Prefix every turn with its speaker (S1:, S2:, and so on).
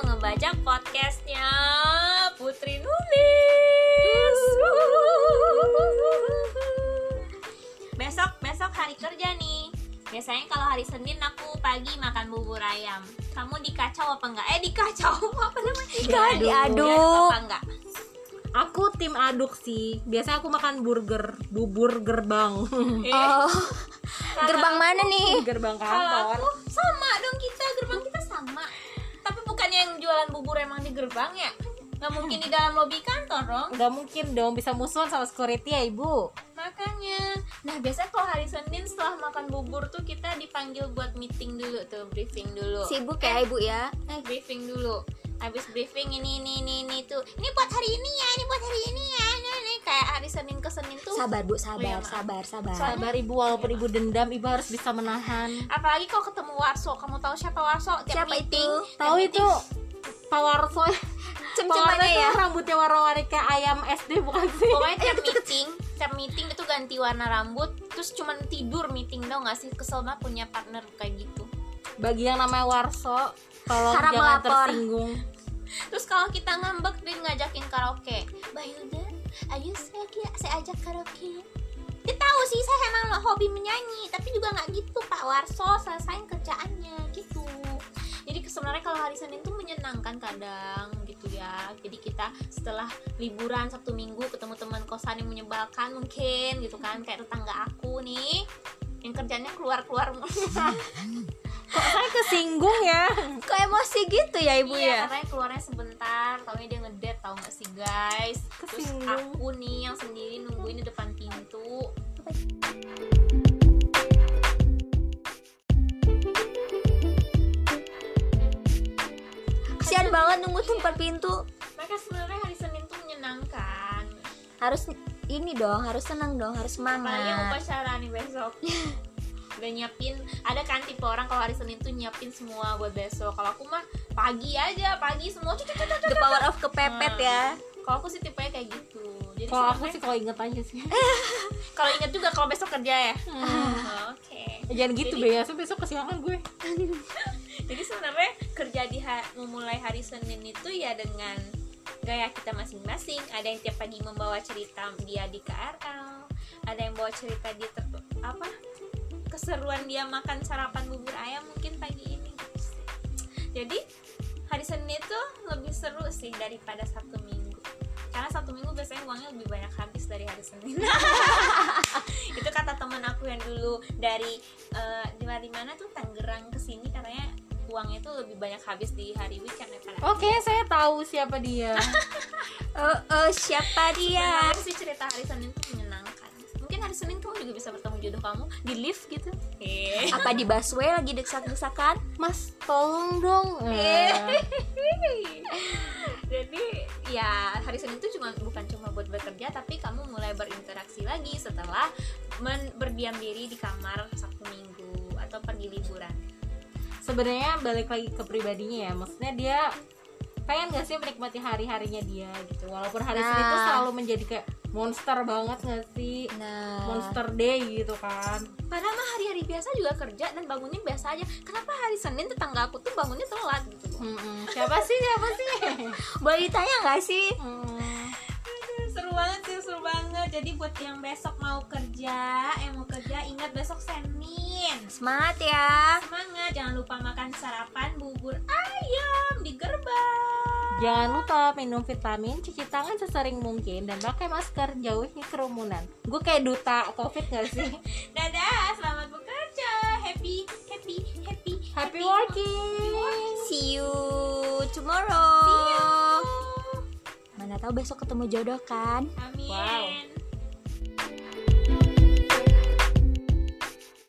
S1: membaca podcastnya Putri Nulis. Besok besok hari kerja nih. Biasanya kalau hari Senin aku pagi makan bubur ayam. Kamu dikacau apa enggak? Eh dikacau apa namanya?
S2: Diaduk.
S1: Diaduk apa enggak?
S3: Aku tim aduk sih. Biasanya aku makan burger, bubur gerbang.
S1: Eh,
S2: Oh, gerbang mana nih?
S3: gerbang
S1: kalau aku
S3: kantor.
S1: sama dong kita gerbang kita sama. Tapi bukannya yang jualan bubur emang di gerbang ya? Nggak mungkin di dalam lobi kantor dong.
S3: Gak mungkin dong bisa musuhan sama security ya ibu.
S1: Makanya, nah biasanya kalau hari Senin setelah makan bubur tuh kita dipanggil buat meeting dulu tuh, briefing dulu.
S2: Sibuk ya ibu ya?
S1: Eh, briefing dulu. Habis briefing ini ini ini ini tuh. Ini buat hari ini ya, ini buat hari ini ya. Ini, ini. kayak hari Senin ke Senin tuh.
S2: Sabar bu,
S1: Iya,
S2: sabar,
S1: maaf.
S2: sabar, sabar.
S1: Soalnya-
S3: Sabar ibu walaupun ibu dendam ibu harus bisa menahan.
S1: Apalagi kalau ketemu Warso, kamu tahu siapa Warso? Tiap
S2: Siapa
S1: meeting,
S2: itu?
S1: tiap
S3: Tahu
S1: meeting-
S3: itu Pawarso.
S2: Cem-cemannya
S3: Pawarso
S2: ya?
S3: ya? rambutnya warna-warna kayak ayam SD bukan sih?
S1: Pokoknya tiap meeting, tiap meeting itu ganti warna rambut, terus cuman tidur meeting dong nggak sih kesel banget punya partner kayak gitu.
S3: Bagi yang namanya Warso, tolong
S2: Harap
S3: jangan
S2: melapor.
S3: tersinggung.
S1: Terus kalau kita ngambek dia ngajakin karaoke. Mbak Hilda, ayo saya, ki- saya ajak karaoke. Dia tahu sih saya emang lo- hobi menyanyi, tapi juga nggak gitu Pak Warso selesain kerjaannya gitu. Jadi sebenarnya kalau hari Senin tuh menyenangkan kadang gitu ya. Jadi kita setelah liburan Sabtu Minggu ketemu teman kosan yang menyebalkan mungkin gitu kan kayak tetangga aku nih yang kerjanya keluar-keluar mulu.
S3: Saya kesinggung ya.
S2: Kok emosi gitu ya ibu
S1: iya,
S2: ya?
S1: katanya keluarnya sebentar, taunya dia ngedet tau gak sih guys Terus
S3: Kesinggung.
S1: aku nih yang sendiri nungguin di depan pintu
S2: Kasian banget nunggu di depan pintu.
S1: Mereka sebenarnya hari Senin tuh menyenangkan
S2: Harus ini dong, harus senang dong, harus
S1: Apalagi yang
S2: semangat.
S1: upacara nih besok Udah nyiapin, ada kan tipe orang kalau hari Senin tuh nyiapin semua buat besok Kalau aku mah pagi aja, pagi semua cucu cucu cucu
S2: The power of kepepet
S1: Hmm.
S2: ya.
S1: Kalau aku sih tipenya kayak gitu Jadi
S3: Kalau aku
S1: sebenarnya
S3: sih kalau inget aja sih. Hmm.
S1: kalau inget juga kalau besok kerja ya Oke
S3: Jangan gitu
S1: Jadi-
S3: Bea, besok kesiangan gue.
S1: jadi sebenarnya kerja di ha- memulai hari Senin itu ya dengan gaya kita masing-masing ada yang tiap pagi membawa cerita dia di KRL ada yang bawa cerita dia ter- apa keseruan dia makan sarapan bubur ayam mungkin pagi ini jadi hari Senin itu lebih seru sih daripada Sabtu Minggu karena Sabtu Minggu biasanya uangnya lebih banyak habis dari hari Senin itu kata teman aku yang dulu dari eh, di mana- di mana tuh Tangerang ke sini katanya uangnya tuh lebih banyak habis di hari weekend daripada
S3: Oke, saya tahu siapa dia.
S2: Oh, oh, siapa dia?
S1: Benar Nah, sih cerita hari Senin tuh menyenangkan mungkin hari Senin kamu juga bisa bertemu jodoh kamu di lift gitu Eh.
S2: Apa di busway lagi desak-desakan?
S3: Mas, tolong dong.
S1: Eh.
S2: Iya.
S3: Eh,
S1: jadi ya hari Senin itu cuma bukan cuma buat bekerja tapi kamu mulai berinteraksi lagi setelah men- berdiam diri di kamar Sabtu Minggu atau pergi liburan
S3: Sebenarnya balik lagi ke pribadinya ya. Maksudnya dia pengen gak sih menikmati hari-harinya dia gitu. Walaupun hari Senin itu
S2: Nah.
S3: selalu menjadi kayak monster banget gak sih?
S2: Nah,
S3: Monster day gitu kan.
S1: Padahal mah hari-hari biasa juga kerja dan bangunnya biasa aja. Kenapa hari Senin tetangga aku tuh bangunnya telat gitu? loh.
S3: Mm-mm. Siapa sih? Siapa sih?
S2: boleh ditanya nggak sih?
S1: Hmm.
S3: Mm.
S1: Seru banget sih, seru banget. Jadi buat yang besok mau kerja, yang mau kerja ingat besok Senin.
S2: Semangat ya.
S1: Semangat, jangan lupa makan sarapan bubur ayam di gerbang.
S3: Jangan lupa minum vitamin, cuci tangan sesering mungkin, dan pakai masker jauhi kerumunan. Gue kayak duta covid gak sih?
S1: Dadah, selamat bekerja. Happy, happy, happy,
S3: Happy
S1: Happy
S3: working!
S2: See you tomorrow.
S1: See you.
S2: Mana tahu besok ketemu jodoh kan?
S1: Amin.
S3: Wow.